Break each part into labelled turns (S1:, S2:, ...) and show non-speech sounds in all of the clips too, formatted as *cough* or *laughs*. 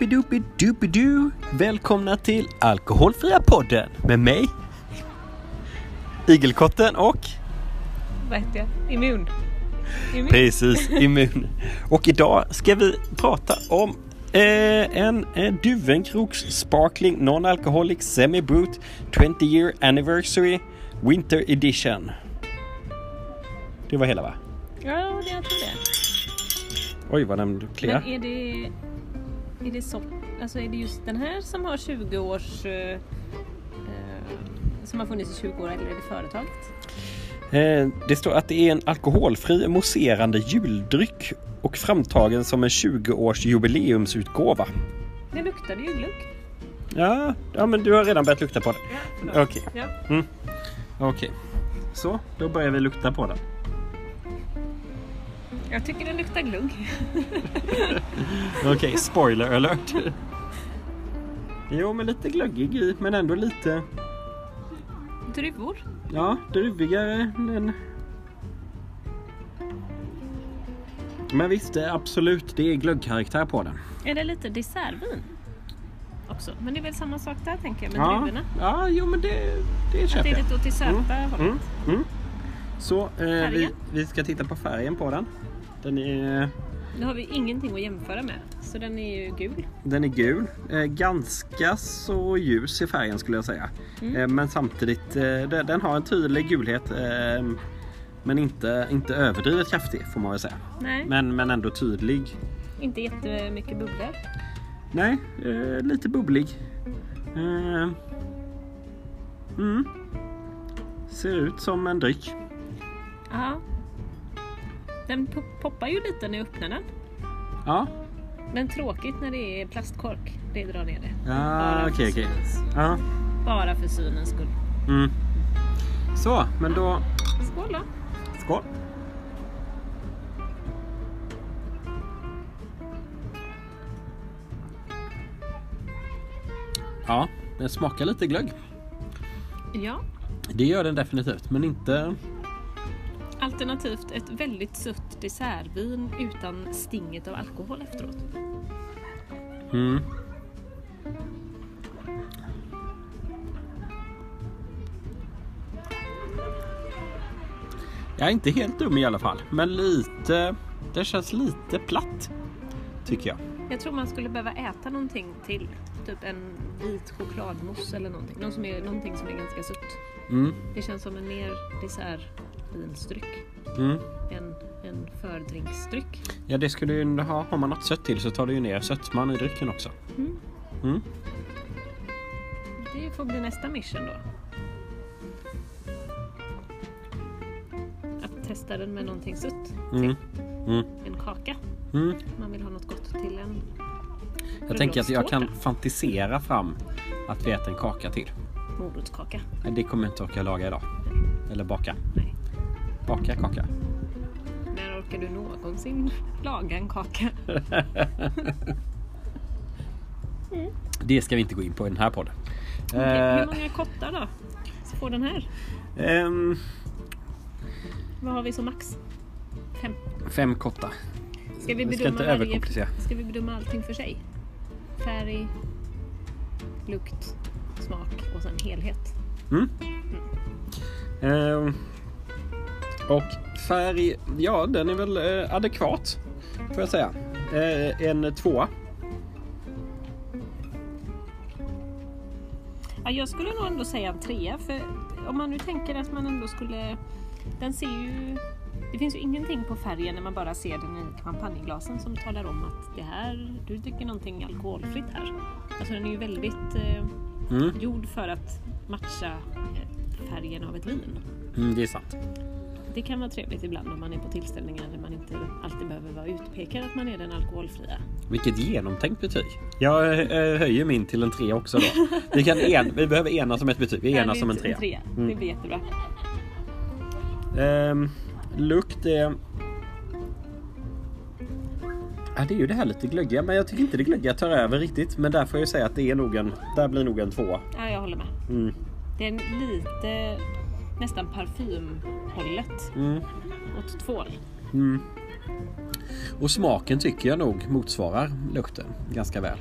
S1: Whoopidoopidoopidoo! Välkomna till Alkoholfria podden med mig, Igelkotten och
S2: Vad heter jag? Immun. Immun.
S1: precis Immun. Och idag ska vi prata om eh, en eh, Duvenkroks Sparkling Non-Alcoholic Semi-Brut 20 Year Anniversary Winter Edition. Det var hela va?
S2: Ja, det- jag tror det.
S1: Oj vad den
S2: Men
S1: kliar.
S2: är det... Är det sort... Alltså är det just den här som har 20 års... Eh, eh, som har funnits i 20 år eller är det företaget?
S1: Eh, Det står att det är en alkoholfri mousserande juldryck och framtagen som en 20-års jubileumsutgåva.
S2: Det luktade ju glögg.
S1: Ja, ja men du har redan börjat lukta på den.
S2: Ja,
S1: Okej.
S2: förlåt. Ja.
S1: Okej. Så, då börjar vi lukta på den.
S2: Jag tycker den luktar glögg.
S1: Okej, spoiler alert. jo, men lite glöggig i, men ändå lite,
S2: Druvor.
S1: ja, druvigare än... Men visst, eh, absolut, det är glöggkaraktär på den.
S2: Är det lite dessertvin? Också. Men det är väl samma sak där tänker jag med
S1: ja,
S2: druvorna.
S1: ja, jo men det, det
S2: Att
S1: köper
S2: det är
S1: jag.
S2: lite åt det söta hållet.
S1: Mm, mm. Så eh, vi,
S2: Färgen?
S1: vi ska titta på färgen på den. Den är,
S2: Nu har vi ingenting att jämföra med. Så den är ju gul.
S1: den är gul. Eh, ganska så ljus i färgen skulle jag säga.
S2: Mm.
S1: Eh, men samtidigt, eh, den, den har en tydlig gulhet. Eh, men inte, inte överdrivet kraftig får man väl säga.
S2: Nej,
S1: Men, men ändå tydlig.
S2: inte jättemycket bubblor.
S1: Nej, eh, lite bubblig. Eh, mm. Ser ut som en dryck.
S2: Ja. Den po- poppar ju lite när jag öppnar den.
S1: Ja,
S2: Men tråkigt när det är plastkork. Det drar ner det.
S1: ah,
S2: Bara för
S1: okej okej.
S2: synens-
S1: Ja.
S2: Bara för synens skull.
S1: Mm. Så, men då...
S2: Skål då!
S1: Skål! Ja, den smakar lite glögg.
S2: Ja,
S1: Det gör den definitivt, men inte...
S2: alternativt ett väldigt sött dessertvin utan stinget av alkohol efteråt.
S1: Mm. Jag är inte helt dum i alla fall, men lite... Det känns lite platt, tycker jag.
S2: Jag tror man skulle behöva äta någonting till. Typ en vit chokladmousse eller någonting. Någon som är, någonting som är ganska sött.
S1: Mm.
S2: Det känns som en mer dessertvinsdryck
S1: Mm.
S2: än en fördrinksdryck.
S1: Ja, det skulle ju ha. Har man något sött till så tar det ju ner sötman i drycken också.
S2: Mm.
S1: Mm.
S2: Det får bli nästa mission då. Att testa den med någonting sött. Typ
S1: Mm. Mm.
S2: En kaka.
S1: Mm.
S2: Man vill ha något gott till en.
S1: Jag tänker att jag kan fantisera fram att vi äter en kaka till.
S2: Morotskaka.
S1: Nej, det kommer jag inte orka laga idag. Eller baka.
S2: Nej.
S1: Baka kaka.
S2: När orkar du någonsin *laughs* laga en kaka?
S1: Eh. Det ska vi inte gå in på i den här podden.
S2: Okej, Hur
S1: Eh,
S2: många kottar då? Så får den här.
S1: ehm,
S2: Vad har vi som max? Fem.
S1: fem kottar. Vi
S2: Ska vi bedöma,
S1: ska inte
S2: varje-
S1: överkomplicera.
S2: ska vi bedöma allting för sig? Färg, lukt, smak och sen helhet.
S1: Ehm, och färg, ja den är väl eh, adekvat. Får jag säga. Eh, en tvåa.
S2: Ja, jag skulle nog ändå säga en trea, för om man nu tänker att man ändå skulle... Den ser ju... Det finns ju ingenting på färgen när man bara ser den i champagneglasen som talar om att det här, du dricker någonting alkoholfritt här. Alltså den är ju väldigt eh,
S1: Mm.
S2: gjord för att matcha eh, färgen av ett vin.
S1: Mm, det är sant.
S2: Det kan vara trevligt ibland om man är på tillställningar där man inte alltid behöver vara utpekad att man är den alkoholfria.
S1: Vilket genomtänkt betyg. Jag eh, höjer min till en tre också då. Vi, kan en, vi behöver enas om ett betyg. Vi
S2: Nej,
S1: enas
S2: det är
S1: om en
S2: inte-
S1: trea. Mm.
S2: Det blir jättebra.
S1: Ehm, lukt är... Ja, det är ju det här lite glöggiga, men jag tycker inte det glöggiga tar över riktigt. Men där får jag ju säga att det är nog en... Där blir nog en tvåa.
S2: Ja, jag håller med.
S1: Mm.
S2: Det är en lite nästan parfymhållet
S1: Mm.
S2: åt tvål.
S1: Mm. Och smaken tycker jag nog motsvarar lukten ganska väl.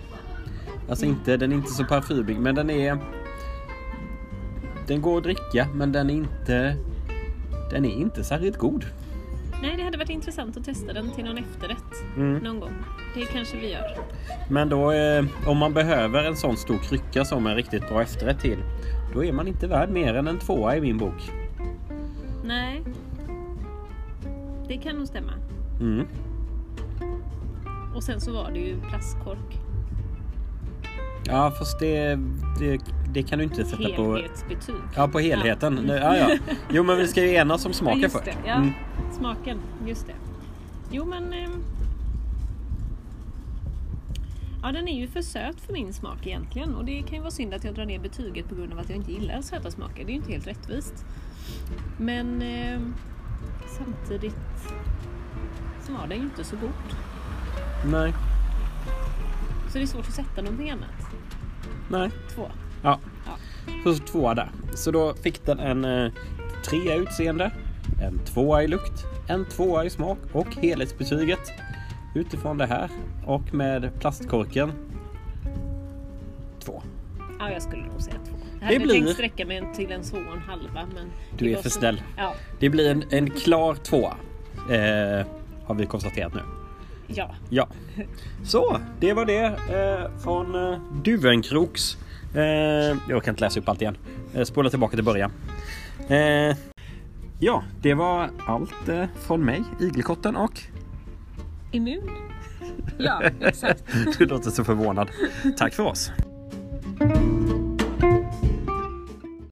S1: Alltså inte, den är inte så parfymig men den är... Den går att dricka men den är inte... Den är inte särskilt god.
S2: Nej, det hade varit intressant att testa den till någon efterrätt
S1: Mm.
S2: någon gång. Det kanske vi gör.
S1: Men då eh, om man behöver en sån stor krycka som en riktigt bra efterrätt till. Då är man inte värd mer än en tvåa i min bok.
S2: Nej. Det kan nog stämma.
S1: Mm.
S2: Och sen så var det ju plastkork.
S1: Ja fast det, det, det kan du inte sätta på...
S2: Helhetsbetyg.
S1: Ja på helheten. Nu- Ja, ja. Jo men vi ska ju enas om smaken
S2: just
S1: först.
S2: det. Ja,
S1: Mm.
S2: Smaken, just det. Jo men... ehm, Ja den är ju för söt för min smak egentligen och det kan ju vara synd att jag drar ner betyget på grund av att jag inte gillar söta smaker. Det är ju inte helt rättvist. Men ehm, samtidigt så var den ju inte så god.
S1: Nej.
S2: Så det är svårt att sätta någonting annat.
S1: Nej.
S2: Två.
S1: Ja.
S2: Ja.
S1: Så tvåa där. Så då fick den en eh, trea i utseende, en tvåa i lukt, en tvåa i smak och helhetsbetyget utifrån det här och med plastkorken. Två.
S2: Ja, jag skulle nog säga två. Jag hade
S1: blir-
S2: tänkt sträcka mig till en två och en halva men...
S1: Du
S2: det
S1: är
S2: var
S1: för
S2: så-
S1: snäll.
S2: Ja,
S1: Det blir en, en klar tvåa. Eh, har vi konstaterat nu.
S2: ja.
S1: Ja. *laughs* Så, det var det eh, från eh, Duvenkroks. Eh, jag kan inte läsa upp allt igen. Eh, spola tillbaka till början. Eh, ja, det var allt eh, från mig, Igelkotten och...
S2: Immun? Ja, exakt.
S1: Du låter så förvånad. Tack för oss.